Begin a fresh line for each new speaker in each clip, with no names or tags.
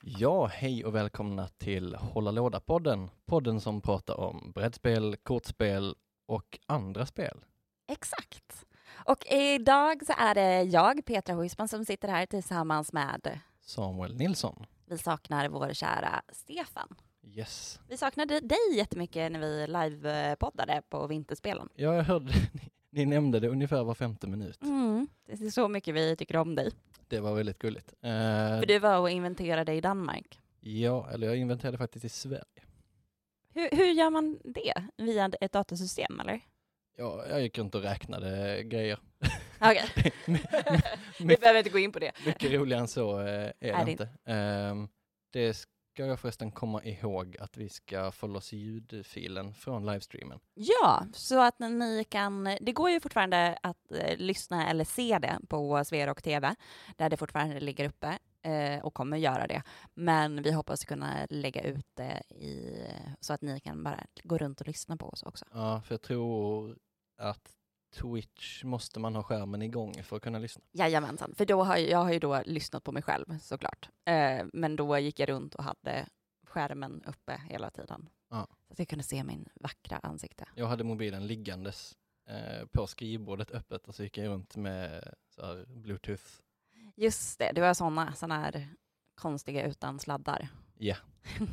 Ja, hej och välkomna till Hålla Låda-podden. Podden som pratar om brädspel, kortspel och andra spel.
Exakt. Och idag så är det jag, Petra Huisman, som sitter här tillsammans med,
Samuel Nilsson.
vi saknar vår kära Stefan.
Yes.
Vi saknade dig jättemycket när vi livepoddade på Vinterspelen.
Ja, jag hörde, ni, ni nämnde det ungefär var femte minut.
Mm. Det är så mycket vi tycker om dig.
Det var väldigt gulligt. Eh,
För du var och inventerade i Danmark.
Ja, eller jag inventerade faktiskt i Sverige.
Hur, hur gör man det? Via ett datasystem eller?
Ja, jag gick runt och räknade grejer.
Okej, vi behöver inte gå in på det.
Mycket roligare än så eh, är
det
det inte. Ehm, det ska jag förresten komma ihåg att vi ska få loss ljudfilen från livestreamen.
Ja, så att ni kan, det går ju fortfarande att eh, lyssna eller se det på Sverok TV, där det fortfarande ligger uppe eh, och kommer göra det. Men vi hoppas kunna lägga ut det i, så att ni kan bara gå runt och lyssna på oss också.
Ja, för jag tror att Twitch måste man ha skärmen igång för att kunna lyssna.
Jajamensan, för då har jag, jag har ju då lyssnat på mig själv såklart. Eh, men då gick jag runt och hade skärmen uppe hela tiden.
Ja.
Så att jag kunde se min vackra ansikte.
Jag hade mobilen liggandes eh, på skrivbordet öppet och så gick jag runt med så här, bluetooth.
Just det, du har såna, såna här konstiga utan sladdar.
Ja,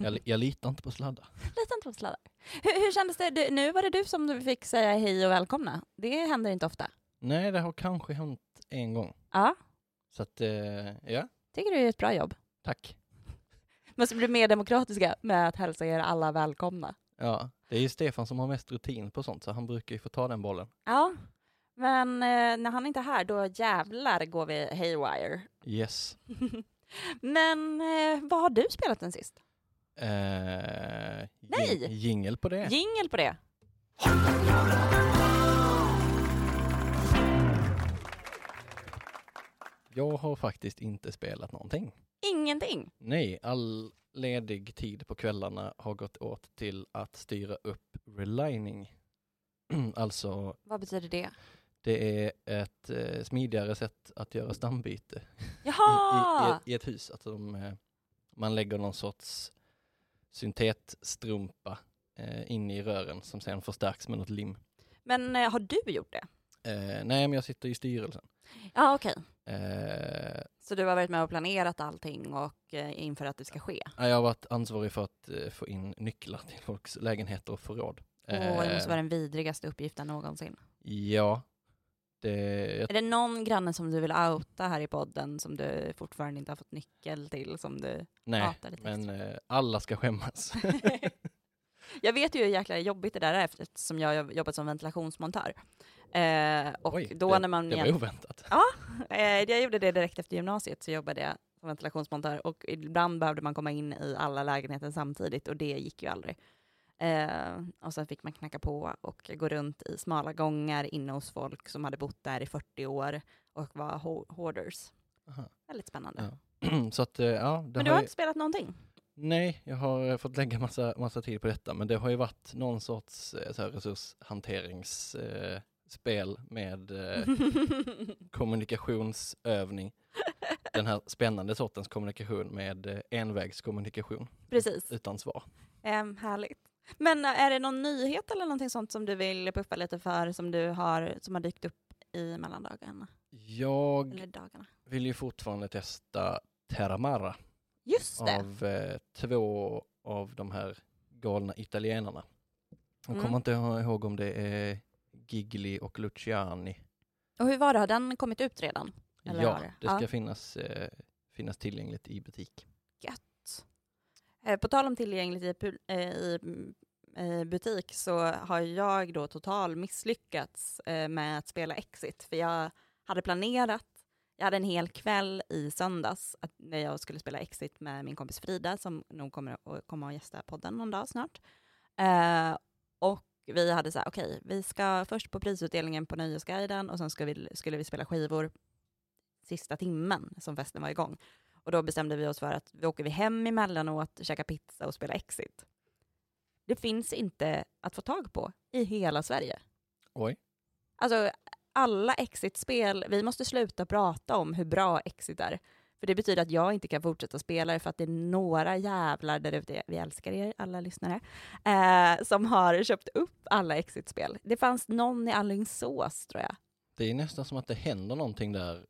jag, jag litar inte på sladdar.
Lite antrosladdar. Hur, hur kändes det? Du, nu var det du som du fick säga hej och välkomna. Det händer inte ofta.
Nej, det har kanske hänt en gång.
Ja,
Så att, eh, ja,
tycker du är ett bra jobb.
tack.
Måste bli mer demokratiska med att hälsa er alla välkomna.
Ja, det är ju Stefan som har mest rutin på sånt så han brukar ju få ta den bollen.
Ja, men eh, när han inte är här då jävlar går vi haywire.
Yes.
men eh, vad har du spelat den sist?
Eh,
Nej!
Jingel på det.
Jingel på det.
Jag har faktiskt inte spelat någonting.
Ingenting.
Nej, all ledig tid på kvällarna har gått åt till att styra upp relining. alltså,
Vad betyder det?
det är ett eh, smidigare sätt att göra stambyte
Jaha!
i, i, i ett hus. Att de, eh, man lägger någon sorts syntetstrumpa eh, in i rören som sen förstärks med något lim.
Men eh, har du gjort det?
Eh, nej, men jag sitter i styrelsen.
Ja, okej.
Eh,
Så du har varit med och planerat allting och eh, inför att det ska ske?
Ja, Jag har varit ansvarig för att eh, få in nycklar till folks lägenheter och förråd.
Åh, det
Eh,
måste vara den vidrigaste uppgiften någonsin.
Ja. Det, jag,
Är det någon granne som du vill outa här i podden som du fortfarande inte har fått nyckel till som du
nej,
hatar lite
men
extra?
eh, alla ska skämmas.
Jag vet ju hur jäkla jobbigt det där är eftersom jag har jobbat som ventilationsmontör. Eh, och
Oj,
då när man...
Det var
igen-
oväntat.
eh, jag gjorde det direkt efter gymnasiet så jobbade jag som ventilationsmontör och ibland behövde man komma in i alla lägenheter samtidigt och det gick ju aldrig. Eh, och sen fick man knacka på och gå runt i smala gångar inne hos folk som hade bott där i 40 år och var ho- hoarders.
Aha.
Väldigt spännande.
Ja, Så att, eh, ja, det
Men du
har
har
ju,
inte spelat någonting?
nej, jag har eh, fått lägga massa, massa tid på detta, men det har ju varit någon sorts eh, så här, resurshanteringsspel eh, spel med eh,
Mhm.
kommunikationsövning. Den här spännande sortens kommunikation med eh, envägskommunikation
Precis.
utan svar.
Ehm, härligt. Men eh, är det någon nyhet eller någonting sånt som du vill puffa lite för som du har, som har dykt upp i mellandagarna?
Jag
Eller dagarna?
vill ju fortfarande testa Terramara
Just det!
av eh, två av de här galna italienarna. Jag
Mm.
kommer inte ihåg om det är Gigli och Luciani.
Och hur var det, har den kommit ut redan? Eller
ja,
har det?
det ska
Ja.
finnas, eh, finnas tillgängligt i butik.
Eh, På tal om tillgängligt i, pu- eh, i mm, eh, butik så har jag då total misslyckats eh, med att spela Exit, för jag hade planerat, Jag hade en hel kväll i söndags att, när jag skulle spela Exit med min kompis Frida som nog kommer att komma och gästa podden någon dag snart. Eh, och vi hade så här, okej, vi ska först på prisutdelningen på Nöjesguiden och sen ska vi, skulle vi spela skivor sista timmen som festen var igång. Och då bestämde vi oss för att vi åker vi hem emellanåt, käkar pizza och spelar Exit. Det finns inte att få tag på i hela Sverige.
Oj.
Alltså alla Exit-spel, vi måste sluta prata om hur bra Exit är. För det betyder att jag inte kan fortsätta spela det för att det är några jävlar där ute, vi älskar er alla lyssnare, eh, som har köpt upp alla Exit-spel. Det fanns någon i Alingsås tror jag.
Det är nästan som att det händer någonting där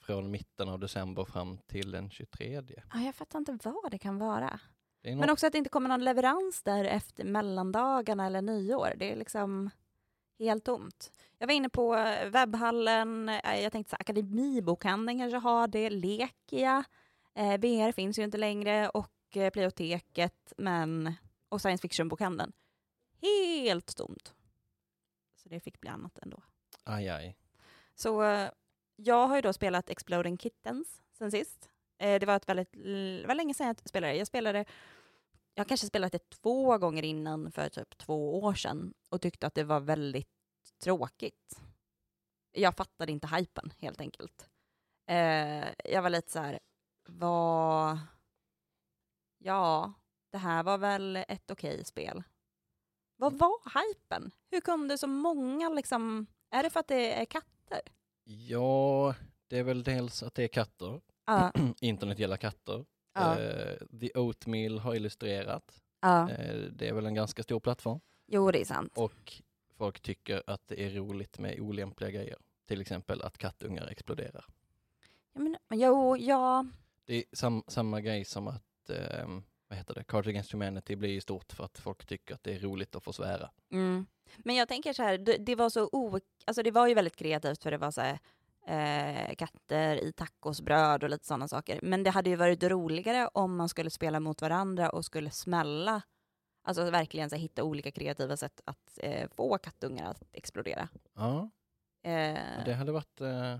från mitten av december fram till den 23.
Ah, jag fattar inte vad det kan vara.
Det är
Men
något,
också att det inte kommer någon leverans där efter mellandagarna eller nyår. Det är liksom helt tomt. Jag var inne på eh, webbhallen, eh, jag tänkte så här, akademibokhandeln kanske har det, Lekia, eh, VR finns ju inte längre och eh, Plioteket men, och science fiction-bokhandeln. Helt tomt. Så det fick bli annat ändå.
aj, aj.
Så eh, jag har ju då spelat Exploding Kittens sen sist. Eh, Det var, ett väldigt, det var länge sedan jag spelade det. Jag spelade, jag kanske spelat det två gånger innan för typ två år sedan och tyckte att det var väldigt tråkigt. Jag fattade inte hypen helt enkelt. Eh, Jag var lite så här, vad... Ja, det här var väl ett okej spel. Vad var hypen? Hur kunde så många liksom... Är det för att det är katt?
Ja, det är väl dels att det är katter.
Ja,
Internet gäller katter.
ja,
Eh, The Oatmeal har illustrerat.
ja.
Eh, det är väl en ganska stor plattform.
Jo, det är sant.
Och folk tycker att det är roligt med olämpliga grejer. Till exempel att kattungar exploderar.
Ja, men, men jo, ja.
Det är sam, samma grej som att, ehm, vad heter det, Cards Against Humanity blir ju stort för att folk tycker att det är roligt att få svära.
Mm. Men jag tänker så här, det, det var så o... Alltså det var ju väldigt kreativt för det var så här, eh, katter i tacosbröd och lite sådana saker. Men det hade ju varit roligare om man skulle spela mot varandra och skulle smälla. Alltså verkligen så här, hitta olika kreativa sätt att eh, få kattungar att explodera.
Ja,
Eh,
det hade varit, eh,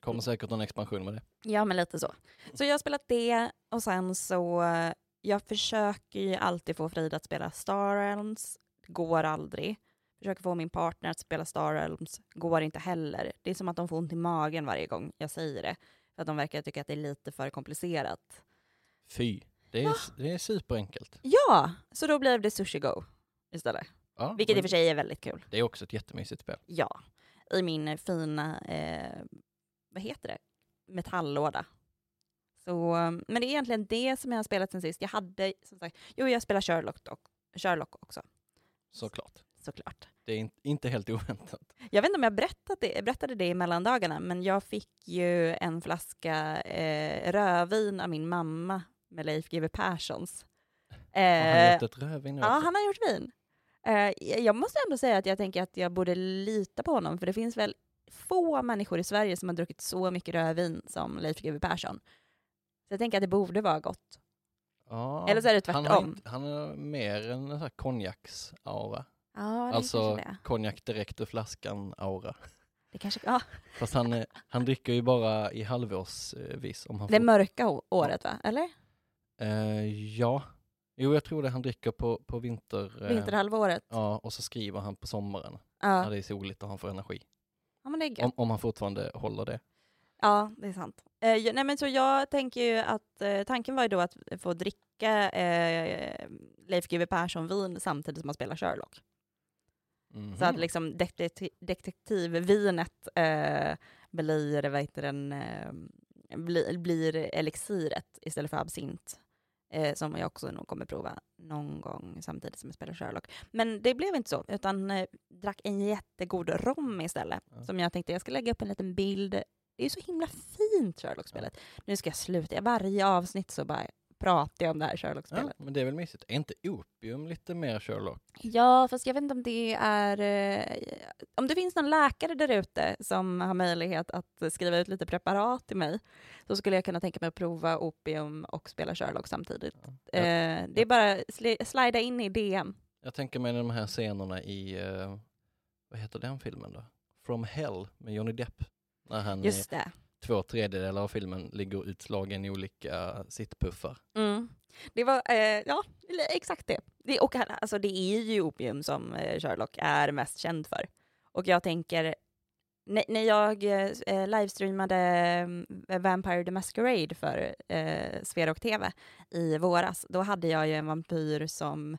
kommer säkert någon expansion med det.
Ja, men lite så. Så jag har spelat det och sen så, eh, jag försöker ju alltid få Frida att spela Star Realms, går aldrig. Försöker få min partner att spela Star Realms, går inte heller. Det är som att de får ont i magen varje gång jag säger det. För att de verkar tycka att det är lite för komplicerat.
Fy, det är, det är superenkelt.
Ja, så då blev det Sushi Go istället.
Ja,
Vilket i
men
och för sig är väldigt kul.
Det är också ett jättemysigt spel.
Ja, i min fina, eh, vad heter det, metalllåda. Så, men det är egentligen det som jag har spelat sen sist. Jag hade, som sagt, jo jag spelar Sherlock, dock, Sherlock också,
Såklart.
såklart.
Det är in, inte helt oväntat.
Jag vet inte om jag berättat det, berättade det i mellandagarna, men jag fick ju en flaska eh, rödvin av min mamma med Leif GW Perssons.
Har han gjort ett rödvin
Eh, Ja,
också?
han har gjort vin. Eh, jag måste ändå säga att jag tänker att jag borde lita på honom, för det finns väl få människor i Sverige som har druckit så mycket rödvin som Leif GW Persson. Så jag tänker att det borde vara gott.
Ja,
Eller så är det
Han har,
tvärtom.
inte- han har mer en sån här konjaksaura.
Ja, det
Alltså
kanske det är.
konjak direkt ur flaskan-aura.
Det, kanske, ja,
Fast han, eh, han dricker ju bara i halvårsvis. Om han
det
får.
mörka å- året, va? Eller?
Eh, ja. Jo, jag tror det han dricker på, på vinter... eh,
Vinterhalvåret? Ja.
Ja, och så skriver han på sommaren när
Ja.
det är soligt och han får energi.
men det är gött.
Om, om han fortfarande håller det.
Ja, det är sant. Eh, jag- nej, men så jag tänker ju att eh, tanken var ju då att få dricka eh, Leif GW Persson-vin samtidigt som man spelar Sherlock. Så att
Mhm.
liksom detekti- detektivvinet eh, blir, vad heter den, eh, blir, blir elixiret istället för absint. Eh, som jag också nog kommer prova någon gång samtidigt som jag spelar Sherlock. Men det blev inte så, utan eh, drack en jättegod rom istället.
Ja.
Som jag tänkte jag ska lägga upp en liten bild. Det är ju så himla fint Sherlock-spelet. Nu ska jag sluta, I varje avsnitt så bara pratar jag om det här Sherlock-spelet.
ja, men det är väl mysigt. Är inte opium lite mer Sherlock?
Ja, fast jag vet inte om det är... eh, Om det finns någon läkare där ute som har möjlighet att skriva ut lite preparat till mig så skulle jag kunna tänka mig att prova opium och spela Sherlock samtidigt.
Ja.
Eh, det är bara sli- slida in i DM.
Jag tänker mig de här scenerna i, eh, vad heter den filmen då? From Hell med Johnny Depp. När han, är,
Just det.
två tredjedelar av filmen ligger utslagen i olika sittpuffar.
Mm. Det var, eh, ja, eller exakt det. det och han- alltså, det är ju opium som eh, Sherlock är mest känd för. Och jag tänker, när, när jag eh, livestreamade eh, Vampire the Masquerade för eh, Sverok TV i våras, då hade jag ju en vampyr som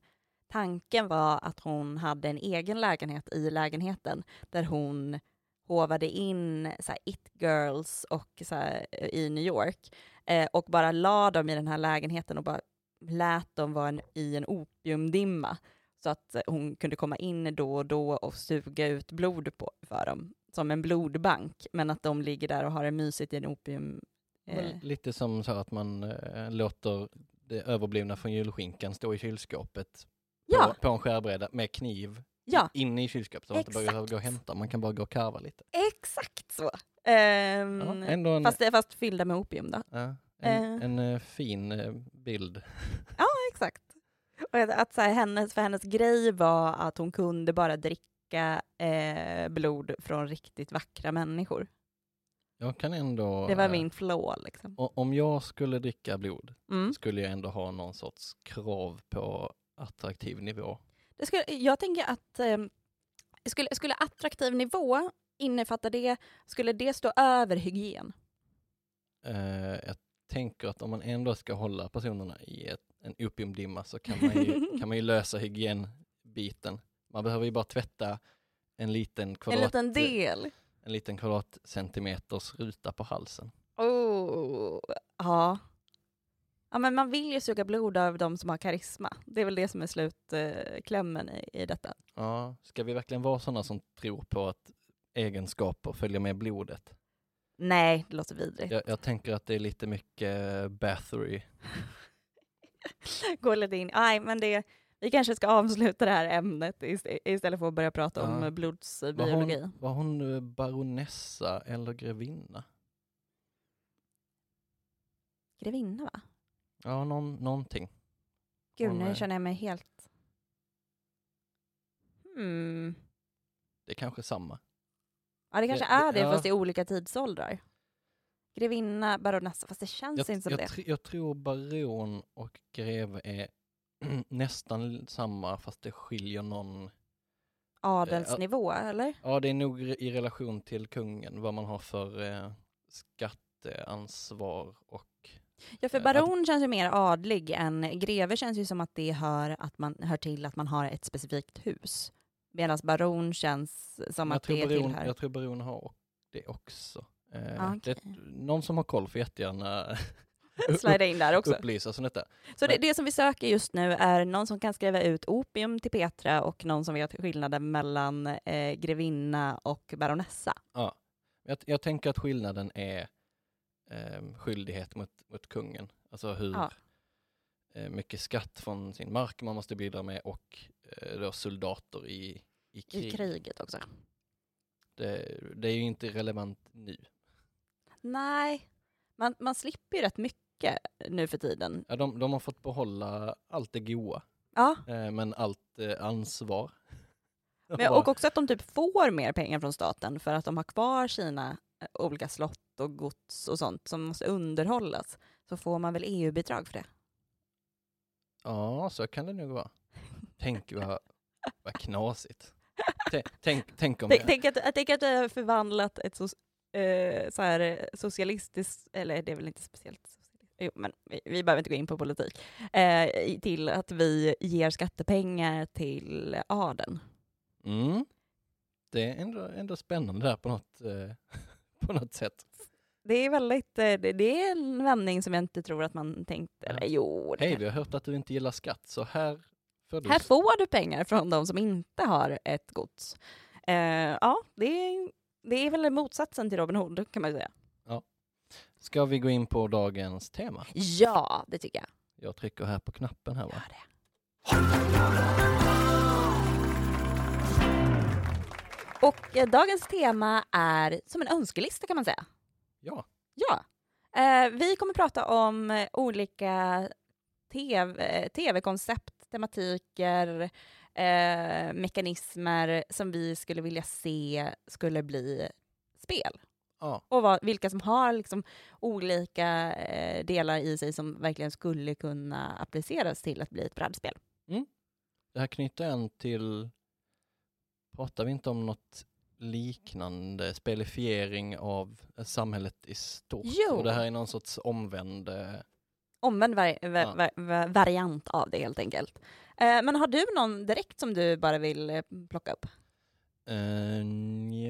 tanken var att hon hade en egen lägenhet i lägenheten där hon hovade in så här, it girls och så här, i New York eh, och bara la dem i den här lägenheten och bara lät dem vara en, i en opiumdimma så att eh, hon kunde komma in då och då och suga ut blod på, för dem som en blodbank men att de ligger där och har det mysigt i en opium... Eh,
Men Lite som så här att man eh, låter det överblivna från julskinkan stå i kylskåpet
ja,
på, på en skärbräda med kniv
ja,
inne i kylskåpet. Så man inte behöver
Exakt.
gå och hämta, man kan bara gå och karva lite.
exakt så. Ehm,
Ja, ändå en,
fast, fast fyllda med opium då.
ja, en,
eh.
en eh, fin eh, bild.
exakt. Och att, att så här, hennes, för hennes grej var att hon kunde bara dricka eh, blod från riktigt vackra människor.
Jag kan ändå...
Det var
eh,
min flaw liksom.
o- Om jag skulle dricka blod
Mm.
skulle jag ändå ha någon sorts krav på attraktiv nivå.
Det skulle, jag tänker att eh, skulle, skulle attraktiv nivå innefatta det, skulle det stå över hygien?
Eh, jag tänker att om man ändå ska hålla personerna i ett, en opiumdimma så kan man, ju, kan man ju lösa hygienbiten. Man behöver ju bara tvätta en liten, kvadrat,
en liten del.
en liten kvadratcentimeters ruta på halsen.
Oh, ja. ja, men man vill ju suga blod av de som har karisma. Det är väl det som är slutklämmen eh, klämmen i, i detta.
Ja, ska vi verkligen vara sådana som tror på att egenskaper följer med blodet?
Nej, det låter vidrigt.
Jag, jag tänker att det är lite mycket eh, Bathory.
Gå lite in. Nej, men det, vi kanske ska avsluta det här ämnet ist- istället för att börja prata om
Ja.
eh,
Var
blodsbiologi.
hon, var hon eh, baronessa eller grevinna?
Grevinna, va?
Ja, någon, någonting.
Gud,
Hon
nu
är-
känner jag mig helt... Hmm.
Det är kanske samma.
Ja, det kanske
Det- det-
är det,
ja.
fast i olika tidsåldrar. Grevinna, baronessa, fast det känns
Jag,
inte som
jag,
det.
tr- jag tror baron och greve är nästan samma fast det skiljer någon.
Adelsnivå, eller?
Ja, det är nog re- i relation till kungen vad man har för eh, skatteansvar och
Ja, för
Eh, att-
baron känns ju mer adlig än greve känns ju som att det hör, att man, hör till att man har ett specifikt hus. Medan baron känns som
jag
att det
tror, baron,
tillhör...
jag tror baron har o- det också. Eh,
Ah,
det,
okej.
någon som har koll får jättegärna
Slida in där också.
upplysa oss om detta.
Så det, det som vi söker just nu är någon som kan skriva ut opium till Petra och någon som vet skillnaden mellan eh, grevinna och baronessa.
Ja. Jag, jag tänker att skillnaden är eh, skyldighet mot, mot kungen. Alltså hur
Ja.
eh, mycket skatt från sin mark man måste bidra med och eh, då soldater i, i krig.
I kriget också.
Det, det är ju inte relevant nu.
Nej, man, man slipper ju rätt mycket nu för tiden.
Ja, de, de har fått behålla allt det goa,
Ja,
eh, men allt eh, ansvar.
men,
Bara-
och också att de typ får mer pengar från staten för att de har kvar sina eh, olika slott och gods och sånt som måste underhållas. Så får man väl EU-bidrag för det.
Ja, så kan det nog vara. Tänk vad, vad knasigt. Tänk, tänk, tänk om
Tänk, tänk, att, jag tänker att vi har förvandlat ett so, eh, så här, eh, socialistiskt, eller det är väl inte speciellt socialistiskt, jo, men vi, vi behöver inte gå in på politik, eh, i- till att vi ger skattepengar till adeln.
Mm. Det är ändå, ändå spännande där på något, eh, på något sätt.
Det är väldigt, eh, det, det är en vändning som jag inte tror att man tänkte,
Ja.
eller jo, det
Hej,
kanske-
vi har hört att du inte gillar skatt, så här får du...
här får du pengar från de som inte har ett gods. Eh, ja, det är, det är väl motsatsen till Robin Hood kan man ju säga.
Ska vi gå in på dagens tema?
Ja, det tycker jag.
Jag trycker här på knappen här va?
Gör det. Och eh, dagens tema är som en önskelista kan man säga.
Ja.
Ja. Eh, vi kommer prata om eh, olika TV, eh, tv-koncept, tematiker, eh, mekanismer som vi skulle vilja se skulle bli spel.
Ja,
Och vad, vilka som har liksom olika eh, delar i sig som verkligen skulle kunna appliceras till att bli ett brädspel.
det här knyter an till, pratar vi inte om något liknande spelifiering av eh, samhället i stort?
Jo.
Och det här är någon sorts omvänd, eh,
Omvänd vari- va-
Ja.
va- va- variant av det helt enkelt. Eh, men har du någon direkt som du bara vill eh, plocka upp?
eh,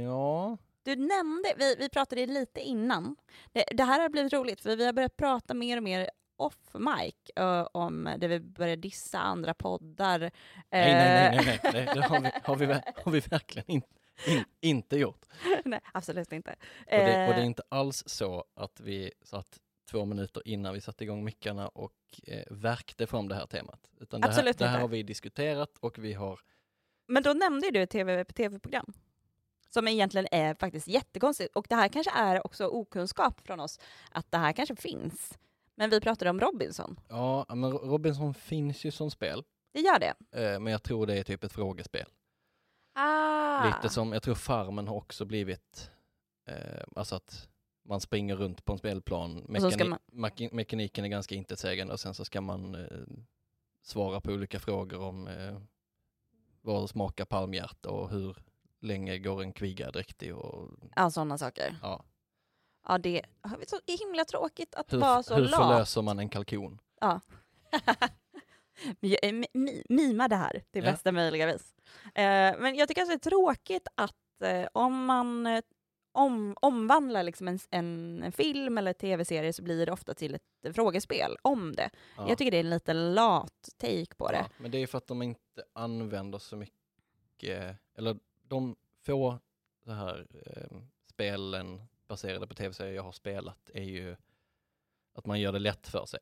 ja,
Du nämnde, vi, vi pratade lite innan, det, det här har blivit roligt för vi har börjat prata mer och mer off mic eh, om det vi börjar dissa andra poddar. Eh.
nej, nej, nej, nej, nej, nej. det har vi, har vi, ver- har vi verkligen in, in, inte gjort.
nej, absolut inte.
Och det, och det är
Eh,
inte alls så att vi satt två minuter innan vi satte igång mickarna och eh, verkte fram det här temat. Utan det här,
Absolut
det här
inte.
har vi diskuterat och vi har,
Men då nämnde ju du ett TV, tv-program som egentligen är faktiskt jättekonstigt. Och det här kanske är också okunskap från oss, att det här kanske finns. Men vi pratade om Robinson.
ja men Robinson finns ju som spel,
Det gör det.
eh, men jag tror det är typ ett frågespel.
Ah.
Lite som, jag tror Farmen har också blivit, eh, alltså att man springer runt på en spelplan,
Och så ska
Mekani- maki- mekaniken är ganska intetsägande och sen så ska man eh, svara på olika frågor om eh, vad smakar palmhjärta och hur länge går en kvigardräkt i och
Ja, sådana saker.
ja,
Ja, det är så himla tråkigt att vara
hur,
så
hur
lat.
förlöser man en kalkon?
Men jag- eh, mi- mi- Mima det här till
Ja.
bästa möjliga vis. Eh, men jag tycker att det är tråkigt att eh, om man eh, om, omvandlar liksom en, s- en, en film eller tv-serie så blir det ofta till ett frågespel om det.
Ja.
Jag tycker det är en lite lat take på
Ja,
det.
men det är för att de inte använder så mycket, eller de få så här eh, spelen baserade på tv-serier jag har spelat är ju att man gör det lätt för sig.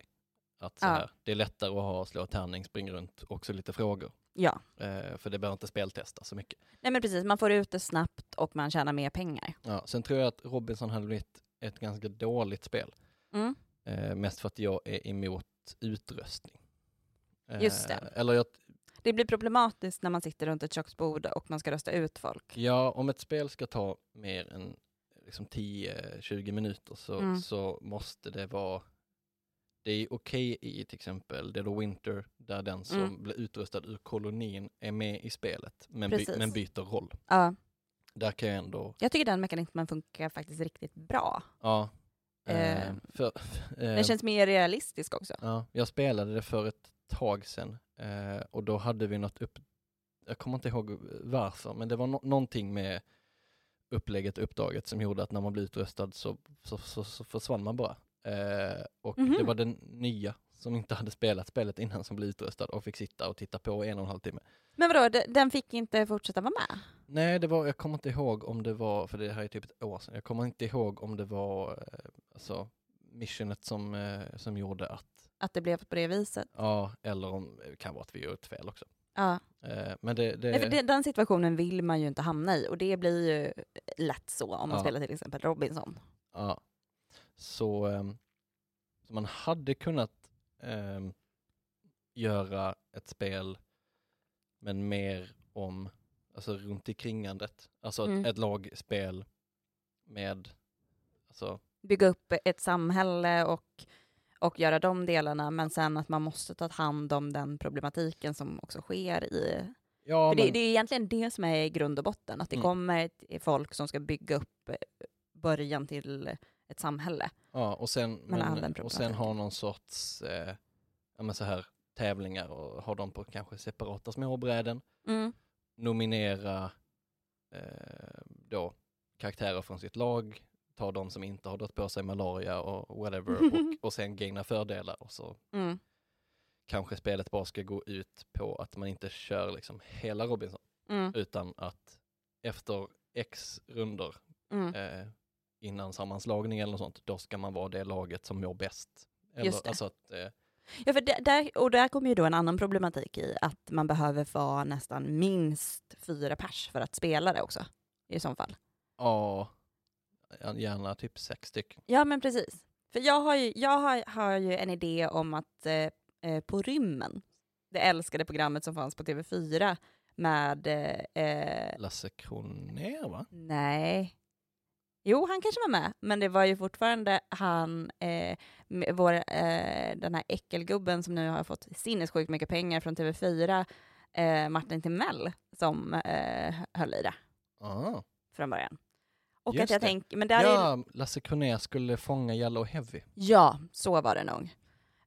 Att så
Ja.
här, det är lättare att ha slå tärning, spring runt, också lite frågor.
Ja.
Eh, för det behöver inte speltesta så mycket.
Nej men precis, man får ut det snabbt och man tjänar mer pengar.
Ja, sen tror jag att Robinson hade blivit ett ganska dåligt spel.
Mm.
Eh, mest för att jag är emot utröstning. Eh,
Just det.
Eller jag,
Det blir problematiskt när man sitter runt ett köksbord och man ska rösta ut folk.
Ja, om ett spel ska ta mer än liksom 10-20 minuter så,
Mm.
så måste det vara det är okej i till exempel Dead of Winter där den som
Mm.
blir utrustad ur kolonin är med i spelet men, by,
Precis.
men byter roll.
Ja,
Där kan jag ändå,
jag tycker den mekanismen funkar faktiskt riktigt bra.
ja.
Eh,
Eh, för, eh,
Den känns mer realistisk också.
ja, jag spelade det för ett tag sedan eh, och då hade vi något upp, jag kommer inte ihåg varför, men det var no- någonting med upplägget, uppdraget som gjorde att när man blev utröstad så, så, så, så försvann man bara. Eh, och det
Mhm.
var den nya som inte hade spelat spelet innan som blev utröstad och fick sitta och titta på i en och en halv timme.
Men vadå, de- den fick inte fortsätta vara med?
Nej, det var, jag kommer inte ihåg om det var, för det här är typ ett år sedan, jag kommer inte ihåg om det var eh, alltså, missionet som, eh, som gjorde att,
Att det blev på det viset?
ja, eller om det kan vara att vi gör ett fel också.
Ja.
Eh, men det, det,
Nej, för det- den situationen vill man ju inte hamna i och det blir ju lätt så om man
Ja.
spelar till exempel Robinson.
Ja. Så, ehm, så man hade kunnat ehm, göra ett spel men mer om, alltså runt omkringandet. Alltså ett-
Mm.
ett lagspel med, alltså,
Bygga upp ett samhälle och, och göra de delarna men sen att man måste ta hand om den problematiken som också sker i...
ja
för det,
men,
det är egentligen det som är i grund och botten, att det
Mm.
kommer ett- folk som ska bygga upp eh, början till ett samhälle.
ja, och sen, men,
använder
och sen ha
problematiken.
någon sorts, eh, ja men så här tävlingar och ha dem på kanske separata småbräden.
Mm.
nominera eh, då karaktärer från sitt lag, ta de som inte har dragit på sig malaria och whatever och, och sen gaina fördelar och så
Mm.
kanske spelet bara ska gå ut på att man inte kör liksom hela Robinson
Mm.
utan att efter x runder
Mm.
eh, innan sammanslagning eller något sånt, då ska man vara det laget som mår bäst. Eller,
Just det.
Alltså att, eh,
Ja, för där- där, och där kommer ju då en annan problematik i att man behöver vara nästan minst fyra pers för att spela det också. I så fall.
ja, gärna typ sex stycken.
Ja, men precis. För jag har ju, jag har, har ju en idé om att eh, eh, På rymmen, det älskade programmet som fanns på TV4 med... Eh, eh,
Lasse Kronér va?
nej. Jo, han kanske var med, men det var ju fortfarande han, eh, med vår, eh, den här äckelgubben som nu har fått sinnessjukt mycket pengar från TV4, eh, Martin Timell, som eh, höll i det
Ah.
från början. Och
Just
att jag
det.
tänker, men där är
Ja, Lasse Kronér skulle fånga Yellow Heavy.
Ja, så var det nog.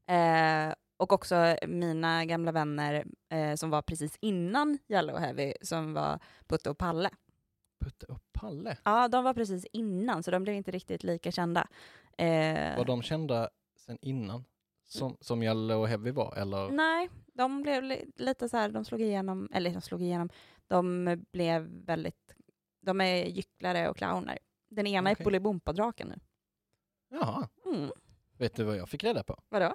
Eh, och också mina gamla vänner eh, som var precis innan Yellow Heavy, som var Putte och Palle.
Putte och Palle.
Ja, de var precis innan, så de blev inte riktigt lika kända. Eh,
Var de kända sen innan? Som, som Yellow Heavy var? Eller?
Nej, de blev li- lite så här, de slog igenom, eller de slog igenom, de blev väldigt, de är gycklare och clowner. Den ena
Okej.
är Bolibompa-draken nu.
Jaha.
Mm.
Vet du vad jag fick reda på?
Vadå?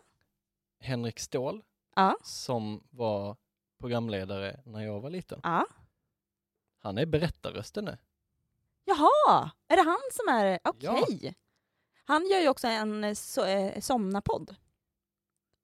Henrik Ståhl,
Ja.
som var programledare när jag var liten.
Ja.
Han är berättarrösten nu.
Jaha, är det han som är, okej.
Ja.
Han gör ju också en eh, so eh, somnapodd.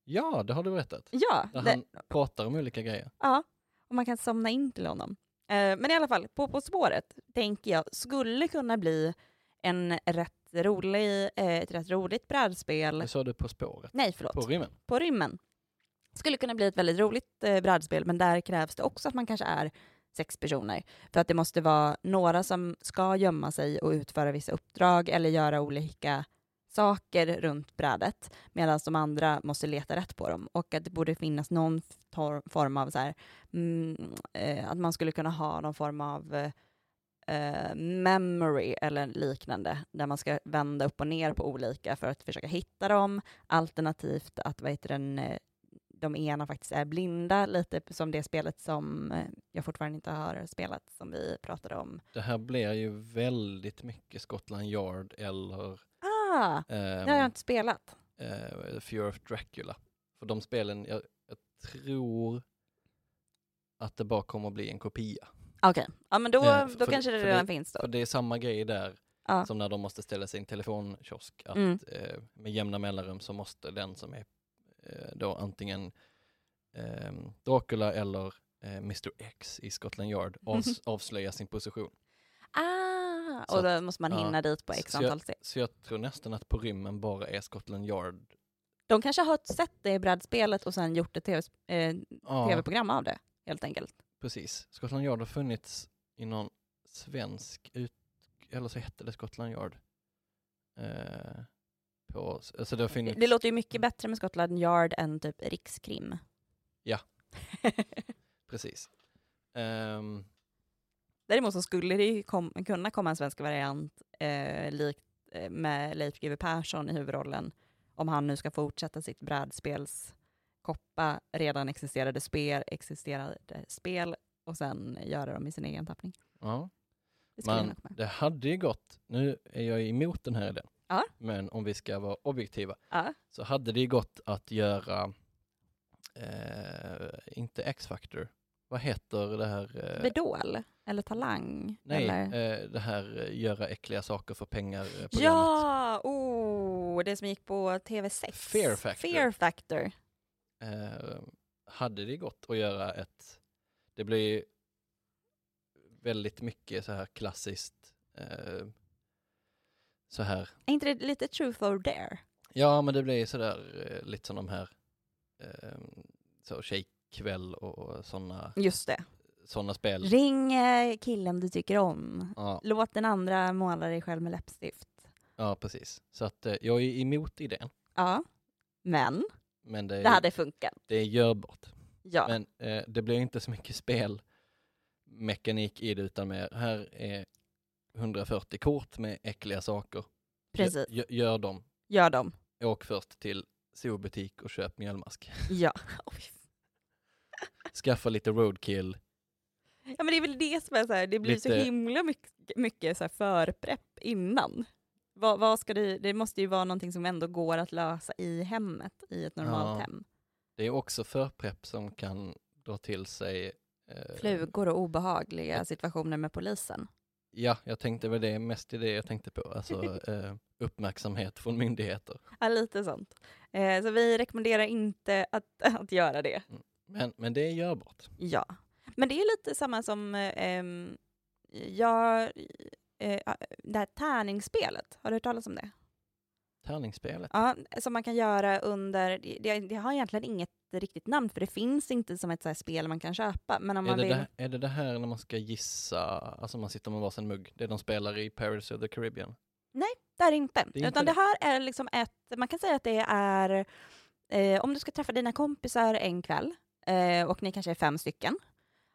Ja, det har du berättat.
Ja,
Där
det,
han pratar om olika grejer.
ja, och man kan somna in till honom. Eh, men i alla fall, På På spåret tänker jag skulle kunna bli en rätt rolig, eh, ett rätt roligt brädspel.
Det sa du På spåret,
Nej, förlåt.
på rymmen.
på rymmen. Skulle kunna bli ett väldigt roligt eh, brädspel, men där krävs det också att man kanske är sex personer. För att det måste vara några som ska gömma sig och utföra vissa uppdrag eller göra olika saker runt brädet, medan de andra måste leta rätt på dem. Och att det borde finnas någon f- tor- form av så här, mm, eh, att man skulle kunna ha någon form av eh, eh, memory eller liknande, där man ska vända upp och ner på olika för att försöka hitta dem, alternativt att vad heter den, eh, de ena faktiskt är blinda, lite som det spelet som eh, jag fortfarande inte har spelat, som vi pratade om.
Det här blir ju väldigt mycket Scotland Yard eller
Ah, det har jag
ehm,
inte spelat.
eh, Fear of Dracula. För de spelen, jag, jag tror att det bara kommer att bli en kopia.
Okej, ja, men då,
Eh,
då
för-
kanske det
för
redan finns då.
För det är samma grej där
Ja.
som när de måste ställa sin telefonkiosk. Att,
Mm.
eh, med jämna mellanrum så måste den som är eh, då antingen eh, Dracula eller eh, Mr X i Scotland Yard avs- avslöja sin position.
Ah,
Så
och då måste man
ja.
hinna dit på x
Så jag-
antal steg.
Så jag tror nästan att på rymmen bara är Scotland Yard.
De kanske har sett det i brädspelet och sen gjort ett TV, eh,
Ja,
tv-program av det, helt enkelt.
precis. Scotland Yard har funnits i någon svensk ut... Eller så hette det Scotland Yard. Eh, på, alltså det har
Det,
funnits...
det låter ju
Mm.
mycket bättre med Scotland Yard än typ Rikskrim.
Ja. Precis. Ehm,
Däremot så skulle det ju kom, kunna komma en svensk variant eh, likt eh, med Leif GW Persson i huvudrollen, om han nu ska fortsätta sitt brädspels koppa redan existerade spel, existerade spel och sen göra dem i sin egen tappning.
ja.
Det skulle jag
Men
nog med.
det hade ju gått, nu är jag emot den här idén,
Ja.
men om vi ska vara objektiva,
Ja.
så hade det ju gått att göra, eh, inte X-Factor, vad heter det här? Eh,
Idol eller Talang?
nej,
eller?
eh, det här eh, göra äckliga saker för pengar eh, programmet.
ja, oh, det som gick på TV6.
Fear Factor.
Fear Factor.
Eh, hade det gått att göra ett, det blir ju väldigt mycket så här klassiskt, eh, så här
Är inte det lite truth or dare?
Ja, men det blir sådär eh, lite som de här eh, så tjejkväll och, och sådana
Just det.
såna spel.
Ring eh, killen du tycker om.
Ja,
Låt den andra måla dig själv med läppstift.
ja, precis. Så att eh, jag är emot idén,
Ja. Men
men det,
det hade funkat.
det är görbart.
Ja.
Men eh, det blir inte så mycket spelmekanik i det utan mer, här är 140 kort med äckliga saker. Gö-
Precis.
gö- gör dem.
Gör dem.
Åk först till zoobutik och köp mjölmask.
Ja. Oj.
Skaffa lite roadkill.
ja men det är väl det som är så här, det blir så
Lite-
himla mycket, mycket så här förprepp innan. Vad, vad ska du, det måste ju vara någonting som ändå går att lösa i hemmet, i ett normalt
Ja.
hem.
Det är också förprepp som kan dra till sig eh,
Flugor och obehagliga situationer med polisen.
Ja, jag tänkte väl det mest det jag tänkte på, alltså eh, uppmärksamhet från myndigheter.
Ja, lite sånt. Eh, så vi rekommenderar inte att, att göra det.
Men, men det är görbart.
Ja, men det är lite samma som eh, em, jag eh, det här tärningsspelet. Har du hört talas om det?
Tärningsspelet.
Ja, som man kan göra under, det, det har egentligen inget riktigt namn för det finns inte som ett så här spel man kan köpa. Men om
Är
man
det,
vill,
det, är det det här när man ska gissa, alltså man sitter med varsin mugg, det de spelar i Pirates of the Caribbean?
det är det inte.
är inte
Utan
det.
det här är liksom ett, man kan säga att det är, eh, om du ska träffa dina kompisar en kväll eh, och ni kanske är fem stycken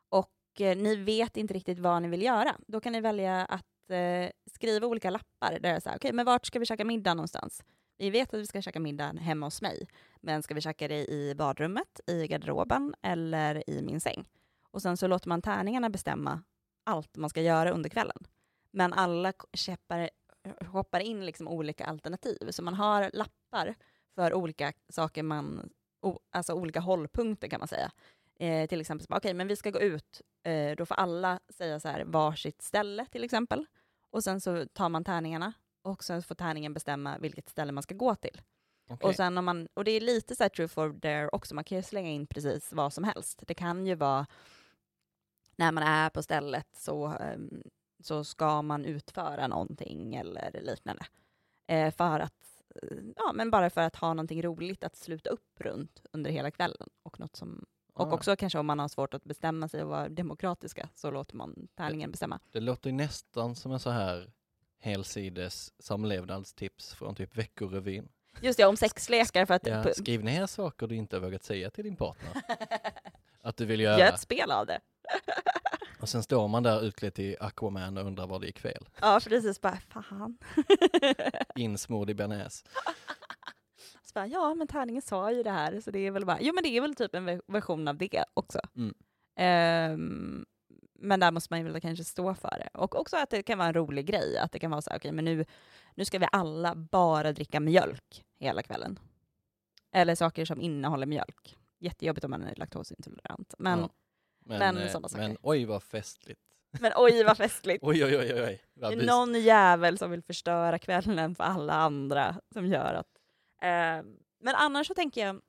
och eh, ni vet inte riktigt vad ni vill göra, då kan ni välja att eh, skriva olika lappar där det är så här, okej, men vart ska vi käka middag någonstans? Vi vet att vi ska käka middag hemma hos mig, men ska vi käka det i badrummet, i garderoben eller i min säng? Och sen så låter man tärningarna bestämma allt man ska göra under kvällen. Men alla k- käppar hoppar in liksom olika alternativ. Så man har lappar för olika saker man, o, alltså olika hållpunkter kan man säga. Eh, till exempel, så bara, okej, men vi ska gå ut, eh, då får alla säga så här varsitt ställe till exempel. Och sen så tar man tärningarna och sen får tärningen bestämma vilket ställe man ska gå till.
Okej.
Och, sen om man, och det är lite så här true for dare också, man kan ju slänga in precis vad som helst. Det kan ju vara när man är på stället så, ehm, så ska man utföra någonting eller liknande. Eh, för att, eh, ja men bara för att ha någonting roligt att sluta upp runt under hela kvällen. Och, något som, och
Ah,
också kanske om man har svårt att bestämma sig och vara demokratiska så låter man
Eh.
tärningen bestämma.
Det låter ju nästan som en så här helsides samlevnadstips från typ Veckorevyn.
Just det, om sexlekar för att...
Ja,
pu-
skriv ner saker du inte har vågat säga till din partner att du vill göra.
Gör ett spel av det.
Och sen står man där utklädd till Aquaman och undrar var det gick fel.
Ja, precis. Bara, fan.
Insmord i bearnaise.
Så bara, ja, men tärningen sa ju det här, så det är väl bara... Jo, men det är väl typ en ve- version av det också.
Mm.
Ehm, men där måste man ju väl kanske stå för det. Och också att det kan vara en rolig grej, att det kan vara så här, okej, men nu, nu ska vi alla bara dricka mjölk hela kvällen. Eller saker som innehåller mjölk. Jättejobbigt om man är laktosintolerant. Men,
Ja, men,
men
eh,
sådana saker.
men oj vad festligt.
men oj, vad festligt.
Oj oj oj oj, oj.
Det
Vad
är
bus-
någon jävel som vill förstöra kvällen för alla andra som gör att... Eh, men annars så tänker jag,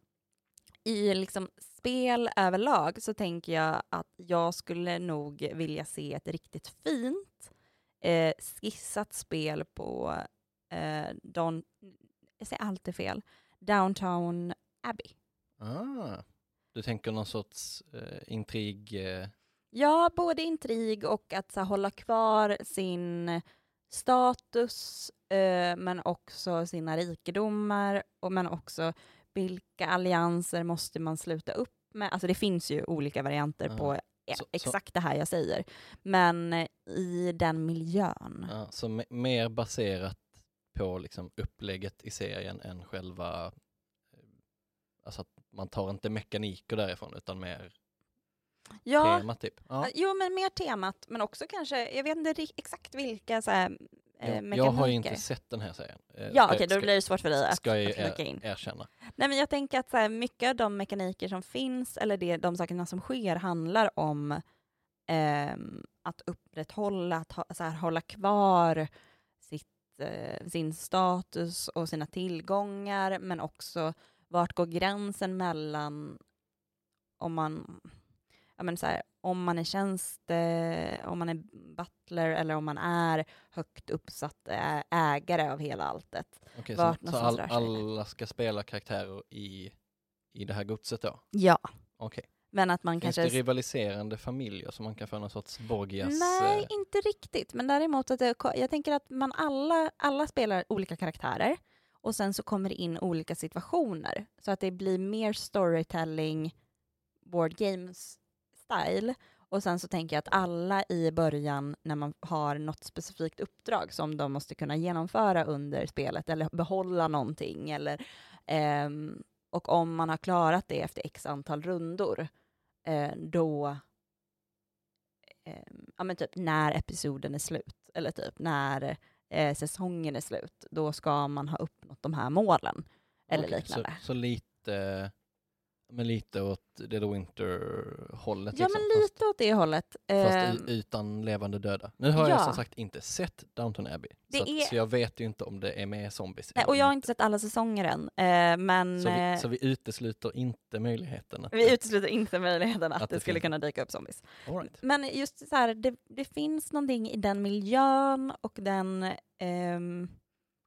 i liksom spel överlag så tänker jag att jag skulle nog vilja se ett riktigt fint eh, skissat spel på eh, Don... Jag säger alltid fel. Downtown Abbey.
Ah, du tänker någon sorts eh, intrig, eh,
Ja, både intrig och att så här, hålla kvar sin status, eh, men också sina rikedomar, och, men också vilka allianser måste man sluta upp med? Alltså det finns ju olika varianter
Ja.
på e-
Så- så-
exakt det här jag säger, men eh, i den miljön.
ja, som är mer baserat på liksom upplägget i serien än själva, eh, alltså att man tar inte mekaniker därifrån utan mer
Ja,
temat typ. Ja.
eh, jo men mer temat, men också kanske, jag vet inte ri- exakt vilka så här, eh,
Jag, jag har ju
mekaniker.
inte sett den här serien. Eh,
Ja,
ska-
okej, då
ska-
blir det svårt för dig att,
ska jag eh,
att
er-
klicka in.
erkänna.
Nej, men jag tänker att så här, mycket av de mekaniker som finns, eller det, de sakerna som sker, handlar om ehm, att upprätthålla, att ha, så här, hålla kvar sitt, eh, sin status och sina tillgångar, men också vart går gränsen mellan om man, ja, men så här, om man är tjänst, eh, om man är butler eller om man är högt uppsatt eh, ägare av hela alltet.
Okej, så,
Vart
så
någonstans
all,
rör sig det.
alla ska spela karaktärer i, i det här godset då?
Ja.
Okej.
Men att man
Finns
kanske...
det rivaliserande familjer som man kan få någon sorts Borgias?
Nej,
eh,
inte riktigt. Men däremot, att det, jag tänker att man alla, alla spelar olika karaktärer och sen så kommer det in olika situationer. Så att det blir mer storytelling, board games style. Och sen så tänker jag att alla i början, när man har något specifikt uppdrag som de måste kunna genomföra under spelet eller behålla någonting. Eller, ehm, och om man har klarat det efter x antal rundor, eh, då eh, ja, men typ när episoden är slut, eller typ när eh, säsongen är slut, då ska man ha uppnått de här målen. Eller
okej,
liknande.
Så, så lite eh, Men lite åt Dead of Winter-hållet.
Ja,
liksom.
men lite åt det hållet.
Fast,
Ehm,
fast u- utan levande döda. Nu har jag
ja.
som sagt inte sett Downton Abbey.
Det
så, att,
är-
så jag vet ju inte om det är med zombies.
nej,
eller
eh, och jag har
inte.
inte sett alla säsonger än, eh, men
så, vi,
eh,
så vi utesluter inte möjligheten. Att,
vi utesluter inte möjligheten att,
Att
det,
det
skulle
finns.
kunna dyka upp zombies.
All right.
Men just så här, det, det finns någonting i den miljön och den ehm,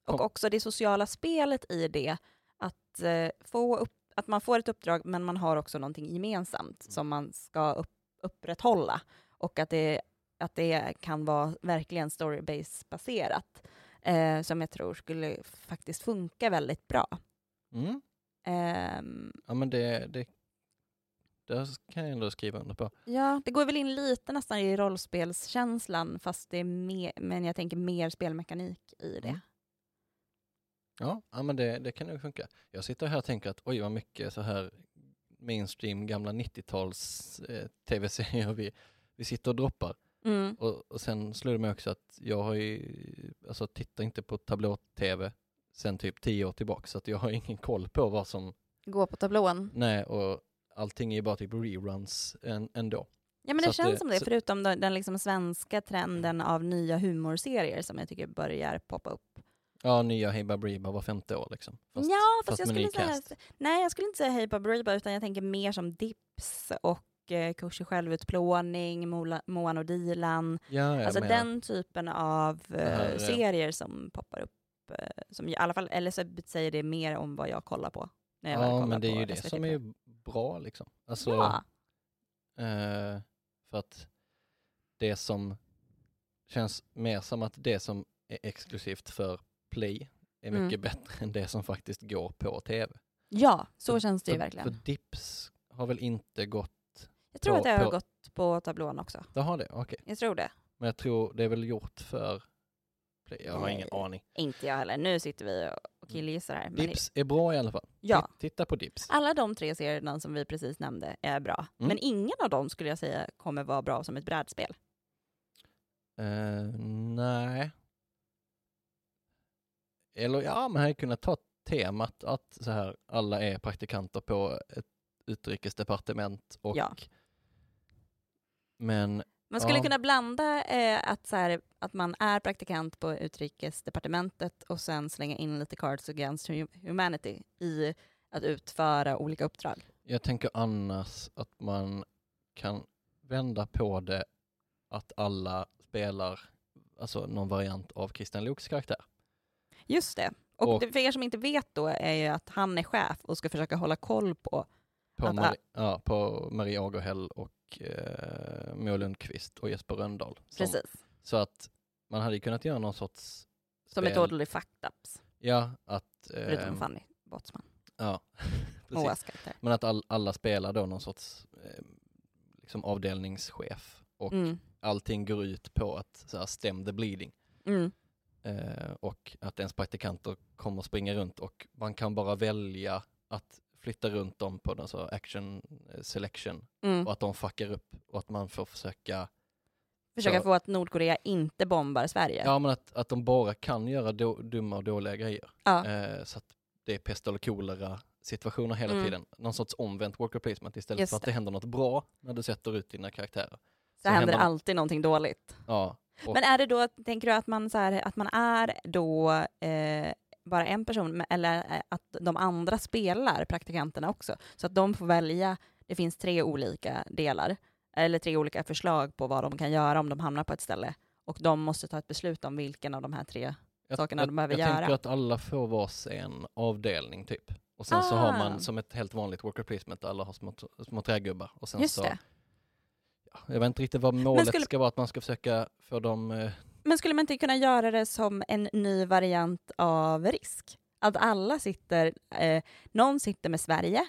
och
Kom.
också det sociala spelet i det. Att, eh, få upp, att man får ett uppdrag men man har också någonting gemensamt som man ska upp, upprätthålla. Och att det, att det kan vara verkligen storybase-baserat. Eh, som jag tror skulle faktiskt funka väldigt bra.
Mm.
Ehm,
Ja, men det, det, det kan jag ändå skriva under på.
Ja, det går väl in lite nästan i rollspelskänslan, fast det är mer, men jag tänker mer spelmekanik i det.
Mm. Ja, ja men det, det kan nog funka. Jag sitter här och tänker att oj vad mycket så här mainstream gamla 90-tals eh, tv-serier vi, vi sitter och droppar.
Mm.
Och, och sen slår det mig också att jag har ju, alltså tittar inte på tablå-tv sen typ tio år tillbaka så att jag har ingen koll på vad som,
Gå på tablån.
nej och allting är ju bara typ reruns en, ändå.
Ja, men
Så
det
att
känns
det-
som det,
så-
förutom den, den liksom svenska trenden av nya humorserier som jag tycker börjar poppa upp.
Ja, nya Hey Baberiba var femte år liksom.
ja, fast, jag
med
skulle
ny
säga,
cast.
nej, jag skulle inte säga Hej Baberiba, utan jag tänker mer som Dips och eh, Kurs i självutplåning, Mola- Moan och Dilan.
Ja, jag
Alltså
menar.
den typen av eh,
här är-
serier som poppar upp, eh, som i alla fall, eller så säger det mer om vad jag kollar på. När jag väl
Ja,
kollar
men det är
på alltså,
ju det
SVT
som
Play.
är bra liksom. Alltså,
Ja,
eh, för att det som känns mer som att det som är exklusivt för play är
Mm.
mycket bättre än det som faktiskt går på tv.
ja så
För-
känns det ju
för,
verkligen.
För Dips har väl inte gått,
jag tror
på-
att jag har
på-
gått på tablån också.
det har det, okej.
Jag tror det.
Men jag tror det är väl gjort för play, jag har
Nej.
ingen aning.
Inte jag heller. Nu sitter vi och- och killgissar här. Men
Dips är bra i alla fall.
ja,
Titt- Titta på Dips.
alla de tre serierna som vi precis nämnde är bra.
Mm.
Men ingen av dem skulle jag säga kommer vara bra som ett brädspel.
Eh, nej. Eller ja, man hade kunnat ta temat att så här, alla är praktikanter på ett utrikesdepartement och
Ja.
men
Man skulle
Ja.
kunna blanda eh, att, så här, att man är praktikant på utrikesdepartementet och sen slänga in lite Cards Against Hum- Humanity i att utföra olika uppdrag.
jag tänker annars att man kan vända på det att alla spelar alltså någon variant av Kristian Loks karaktär.
Just det. Och,
Och-
det- för er som inte vet då är ju att han är chef och ska försöka hålla koll på,
På,
Att-
Mari- ja, på Marie Agerhäll och eh, Moa Lundqvist och Jesper Röndahl. som-
precis,
Så att man hade ju kunnat göra någon sorts
som är
spel.
totally fucked ups,
Ja, att...
förutom
ehm,
Fanny Botsman,
ja, precis.
Moas karaktär.
Men att all, alla spelar då någon sorts ehm, liksom avdelningschef och
Mm,
allting går ut på att så här, stem the bleeding
mm,
eh, och att ens praktikanter kommer springa runt och man kan bara välja att flytta runt dem på den så action eh, selection
mm.
och att de fuckar upp och att man får försöka
Försöka
så-
få att Nordkorea inte bombar Sverige.
Ja men att, att de bara kan göra då, dumma och dåliga grejer.
Ja.
Eh, så att det är pest eller kolera situationer hela
Mm.
tiden. Någon sorts omvänt worker placement istället
Just
för att det.
det.
händer något bra när du sätter ut dina karaktärer.
så händer
händer-
alltid någonting dåligt.
Ja, Och-
Men är det då, tänker du att man, så här, att man är då eh, bara en person, men- eller eh, att de andra spelar praktikanterna också? Så att de får välja, det finns tre olika delar, eller tre olika förslag på vad de kan göra om de hamnar på ett ställe. Och de måste ta ett beslut om vilken av de här tre.
jag,
Sakerna
jag,
de behöver
jag tänker
göra.
att alla får vars en avdelning typ. Och sen så har
Ah.
man som ett helt vanligt worker placement, alla har små, små trägubbar. Och sen
Just
så,
det.
Jag vet inte riktigt vad målet
skulle-
ska vara, att man ska försöka få dem... Eh,
Men skulle man inte kunna göra det som en ny variant av risk? Att alla sitter, eh, någon sitter med Sverige,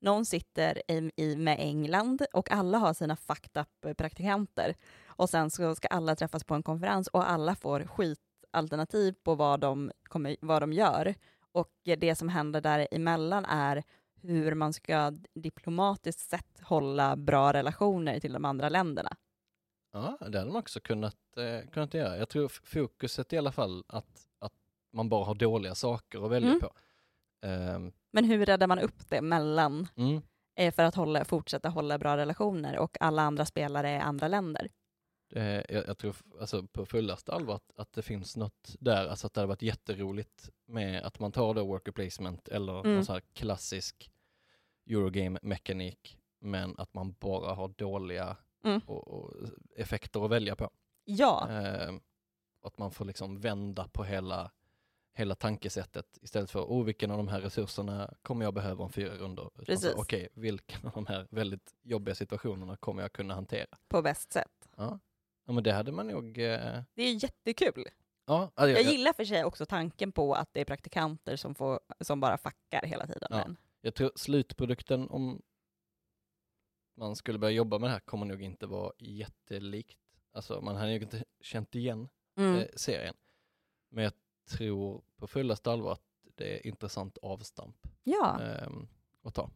någon sitter i, i, med England och alla har sina fucked up praktikanter. Och sen så ska alla träffas på en konferens och alla får skitalternativ på vad de, kommer, vad de gör. Och det som händer däremellan är hur man ska diplomatiskt sett hålla bra relationer till de andra länderna.
Ja, det hade man också kunnat, eh, kunnat göra. Jag tror f- fokuset i alla fall att, att man bara har dåliga saker att välja
Mm.
på. Ehm,
Men hur räddar man upp det mellan
mm.
eh, för att hålla, fortsätta hålla bra relationer och alla andra spelare är andra länder.
Eh, jag, jag tror f- alltså, på fullaste allvar att, att det finns något där, alltså att det hade varit jätteroligt med att man tar då worker placement eller
Mm.
någon så här klassisk Eurogame-mekanik, men att man bara har dåliga
Mm.
och, och effekter att välja på.
Ja,
Eh, att man får liksom vända på hela, hela tankesättet istället för, oh vilken av de här resurserna kommer jag behöva om fyra rundor? Utan så,
Precis.
Okej, vilken av de här väldigt jobbiga situationerna kommer jag kunna hantera?
på bäst sätt.
Ja, ja men det hade man nog... Eh,
Det är jättekul.
ja, alltså,
Jag
jag, jag,
gillar för sig också tanken på att det är praktikanter som, får, som bara fuckar hela tiden.
Ja.
Men,
jag tror slutprodukten om man skulle börja jobba med det här kommer nog inte vara jättelikt. Alltså man hade ju inte känt igen eh,
mm.
serien. Men jag tror på fullaste allvar att det är intressant avstamp.
ja.
ehm, att ta.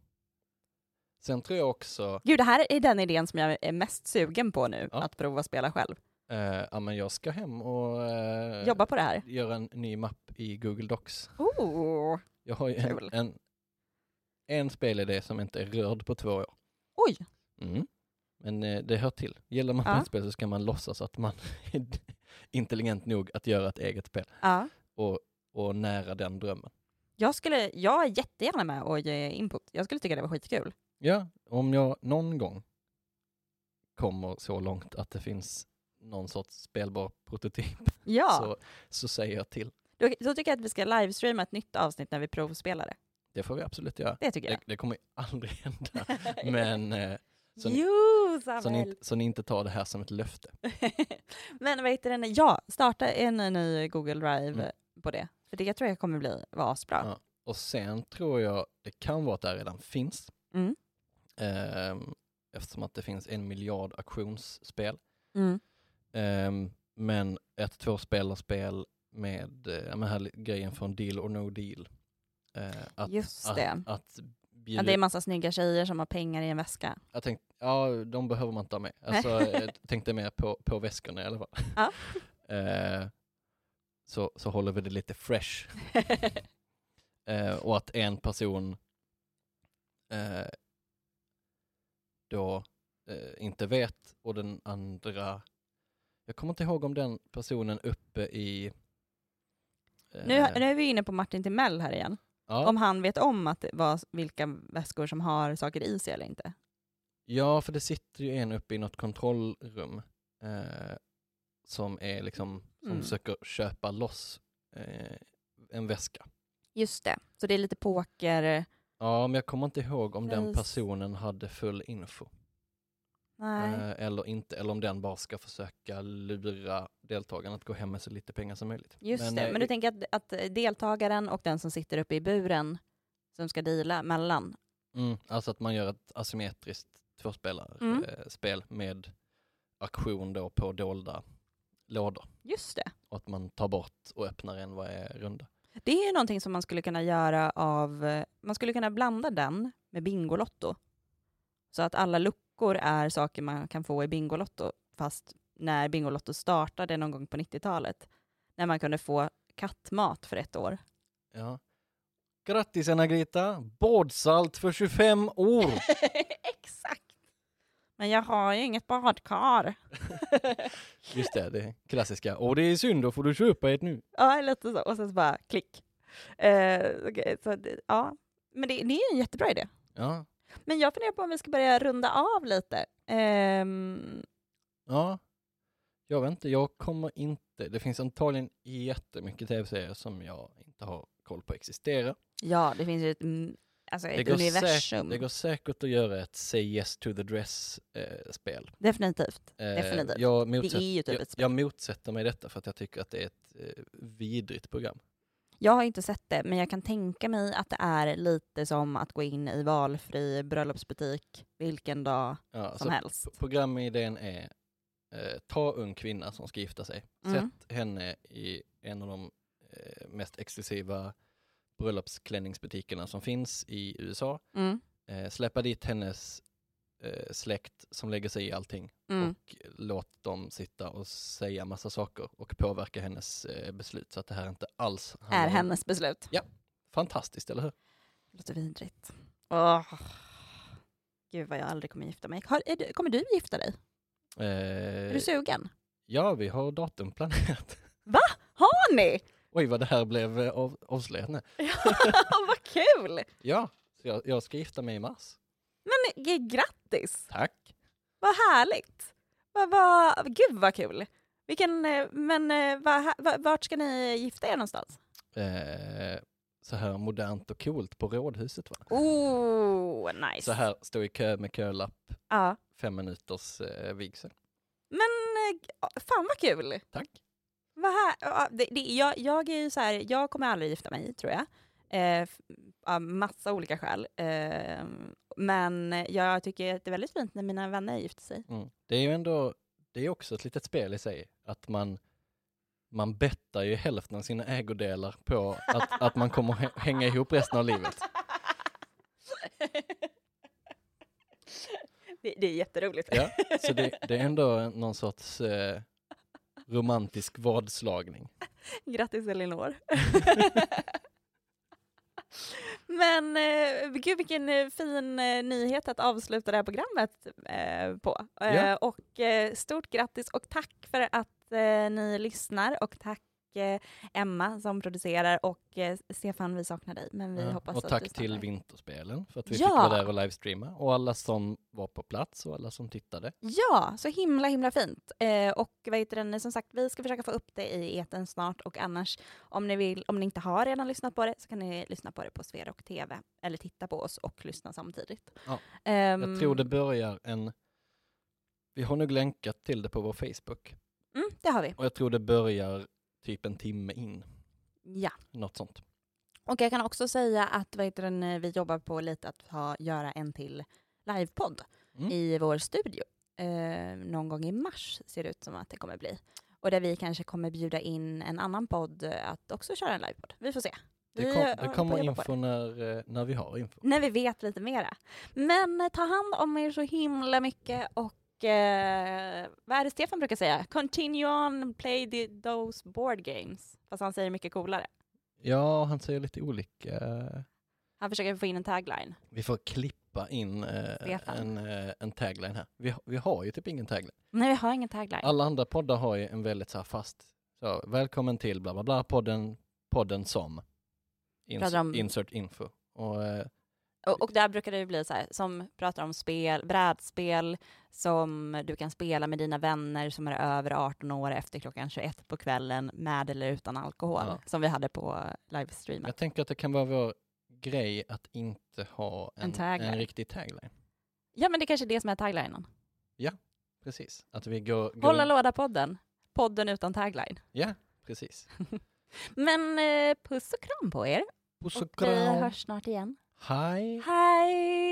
Sen tror jag också,
Gud, det här är den idén som jag är mest sugen på nu,
Ja.
att prova spela själv.
eh, ja men jag ska hem och eh,
Jobba på det här.
göra en ny mapp i Google Docs.
Oh.
Jag har ju en,
Kul.
en, en spelidé som inte är rörd på två år.
Oj,
Mm. Men eh, det hör till. Gillar man
Ja.
mappspel så ska man låtsas att man är intelligent nog att göra ett eget spel
ja.
och, och nära den drömmen.
jag, skulle, jag är jättegärna med och ge input. Jag skulle tycka det var skitkul.
Ja, om jag någon gång kommer så långt att det finns någon sorts spelbar prototyp
Ja,
så, så säger jag till.
då, då tycker jag att vi ska livestreama ett nytt avsnitt när vi provspelar det.
Det får vi absolut göra.
Det tycker
Det,
jag.
det kommer ju aldrig hända. Men eh, så ni-
jo,
så, ni,
Samuel!
inte- så ni inte tar det här som ett löfte.
Men vad heter den? Ja, starta en ny Google Drive
Mm.
på det. För det tror jag kommer bli vara asbra.
Ja. Och sen tror jag det kan vara att det här redan finns.
Mm.
Ehm, eftersom att det finns en miljard auktionsspel.
Mm.
Ehm, men ett tvåspelarspel med eh, ja, men här li- grejen från deal or no deal. Eh, att,
Just
att,
det.
Att
Ja,
bjuda,
det är massa snygga tjejer som har pengar i en väska.
jag tänkte, ja, de behöver man inte ha med. Alltså, jag tänkte mer på, på väskorna i alla fall.
Ja.
Eh, så, så håller vi det lite fresh Eh, och att en person eh, då eh, inte vet och den andra, jag kommer inte ihåg om den personen uppe i... eh,
nu, nu är vi inne på Martin Timell här igen.
ja,
Om han vet om att, det- vad, vilka väskor som har saker i sig eller inte.
ja, för det sitter ju en uppe i något kontrollrum eh, som är liksom, som
Mm.
försöker köpa loss eh, en väska.
Just det. Så det är lite poker...
Ja, men jag kommer inte ihåg om den
Precis.
personen hade full info.
Nej.
Eh, Eller inte, eller om den bara ska försöka lura deltagarna att gå hem med så lite pengar som möjligt.
Just
Men,
det.
eh,
Men du tänker att, att deltagaren och den som sitter uppe i buren som ska deala mellan.
mm, Alltså att man gör ett asymmetriskt tvåspelarspel
Mm.
eh, spel med aktion då på dolda lådor.
Just det.
Och att man tar bort och öppnar en varje runda.
Det är ju någonting som man skulle kunna göra av... Man skulle kunna blanda den med Bingolotto. Så att alla luckor är saker man kan få i Bingolotto. Fast när Bingolotto startade någon gång på 90-talet. När man kunde få kattmat för ett år.
Ja. Grattis Anna-Greta! Bådsalt för 25 år!
Exakt. Men jag har ju inget badkar.
Just det, det klassiska. Och det är synd, då får du köpa ett nu.
ja, lite så. Och sen så bara klick. Eh, okej, så, det- ja. Men det, det är en jättebra idé.
Ja,
Men jag funderar på om vi ska börja runda av lite. Ehm,
Ja, jag vet inte, jag kommer inte, det finns antagligen jättemycket tv-serier som jag inte har koll på existerar.
ja, det finns ju ett, mm, alltså
Det
ett
går, säk-
universum.
det går säkert att göra ett say yes to the dress-spel.
Definitivt.
Eh,
Definitivt.
Jag,
Det är
motsätt,
ju typ
jag,
ett spel.
jag motsätter mig detta för att jag tycker att det är ett eh, vidrigt program.
Jag har inte sett det, men jag kan tänka mig att det är lite som att gå in i valfri bröllopsbutik vilken dag
Ja,
som
så
helst.
p- programidén är eh, ta ung kvinna som ska gifta sig,
Mm.
sätt henne i en av de eh, mest exklusiva bröllopsklänningsbutikerna som finns i USA
Mm,
eh, släppa dit hennes eh, släkt som lägger sig i allting
mm.
och låt dem sitta och säga massa saker och påverka hennes eh, beslut så att det här inte alls handlar
Är
om-
hennes beslut.
Fantastiskt, eller hur?
Det låter vidrigt. Åh. Gud vad jag aldrig kommer gifta mig. Har, är du, kommer du gifta dig? Är du
Eh,
sugen?
ja, vi har datum planerat.
Har ni?
Oj, vad det här blev eh, av, avslöjat nu.
vad kul!
Ja, så jag, jag ska gifta mig i mars.
Men g- grattis!
Tack.
Vad härligt! Vad, vad, gud vad kul! Vilken, eh, men eh, vad hä- vad- vart ska ni gifta er någonstans?
Eh, så här modernt och coolt på Rådhuset va?
Oh, nice!
Så här, stå i kö med kölapp,
Ja.
fem minuters eh, vigsel.
Men eh, g- fan vad kul!
Tack.
Vad här, ja, ah, det, det, jag, jag är ju så här, jag kommer aldrig gifta mig tror jag. Eh, f- av massa olika skäl. Eh, men jag tycker att det är väldigt fint när mina vänner gifter sig.
Mm. Det är ju ändå, det är också ett litet spel i sig, att man, man bettar ju hälften av sina ägodelar på att, att man kommer hä- hänga ihop resten av livet.
Det, det är jätteroligt.
Ja, så det, det är ändå någon sorts eh, romantisk vadslagning.
Grattis Elinor. Men eh, gud vilken eh, fin eh, nyhet att avsluta det här programmet eh, på. Eh,
Ja.
Och eh, stort grattis och tack för att eh, ni lyssnar och tack eh, Emma som producerar och eh, Stefan vi saknar dig men vi
Ja,
hoppas
och
att du
tack
snart är-
till Vinterspelen för att vi
Ja.
fick vara där och livestreama och alla som var på plats och alla som tittade.
Ja, så himla himla fint. Eh, och vad heter den? som sagt, vi ska försöka få upp det i eten snart och annars om ni, vill, om ni inte har redan lyssnat på det så kan ni lyssna på det på Sverok TV eller titta på oss och lyssna samtidigt.
Ja.
Ehm,
Jag tror det börjar en, vi har nog länkat till det på vår Facebook
Mm, det har vi.
och jag tror det börjar typ en timme in,
Ja.
något sånt.
Och jag kan också säga att vad heter den, eh, vi jobbar på lite att ha, göra en till livepodd
Mm.
i vår studio. Eh, någon gång i mars ser det ut som att det kommer bli. Och där vi kanske kommer bjuda in en annan podd eh, att också köra en livepodd. Vi får se. Vi
Det,
håller
kom,
på
det
att
kommer
jobba på
info när, eh, när vi har info.
när vi vet lite mera. Men eh, ta hand om er så himla mycket och eh, vad är det Stefan brukar säga? Continue on, play the, those board games. Fast han säger mycket coolare.
Ja, han säger lite olika.
Han försöker få in en tagline.
Vi får klippa in eh,
Stefan.
en, eh, en tagline här. Vi, har- vi har ju typ ingen tagline.
Nej, vi har ingen tagline.
Alla andra poddar har ju en väldigt så här fast, så, välkommen till bla bla bla podden, podden som. Ins-
Pratar om-
Insert info. Och, eh,
Och, och där brukar det ju bli så här, som pratar om spel, brädspel som du kan spela med dina vänner som är över 18 år efter klockan 21 på kvällen med eller utan alkohol.
Ja.
Som vi hade på livestreamen.
jag tänker att det kan vara vår grej att inte ha en,
En tagline.
en riktig tagline.
Ja, men det är kanske är det som är taglinen.
Precis, att vi går... går
Hålla låda-podden. Podden utan tagline.
Ja, precis.
Men eh, puss och kram på er.
Puss
Och
och
vi
kram.
hörs snart igen.
Hej.
Hej!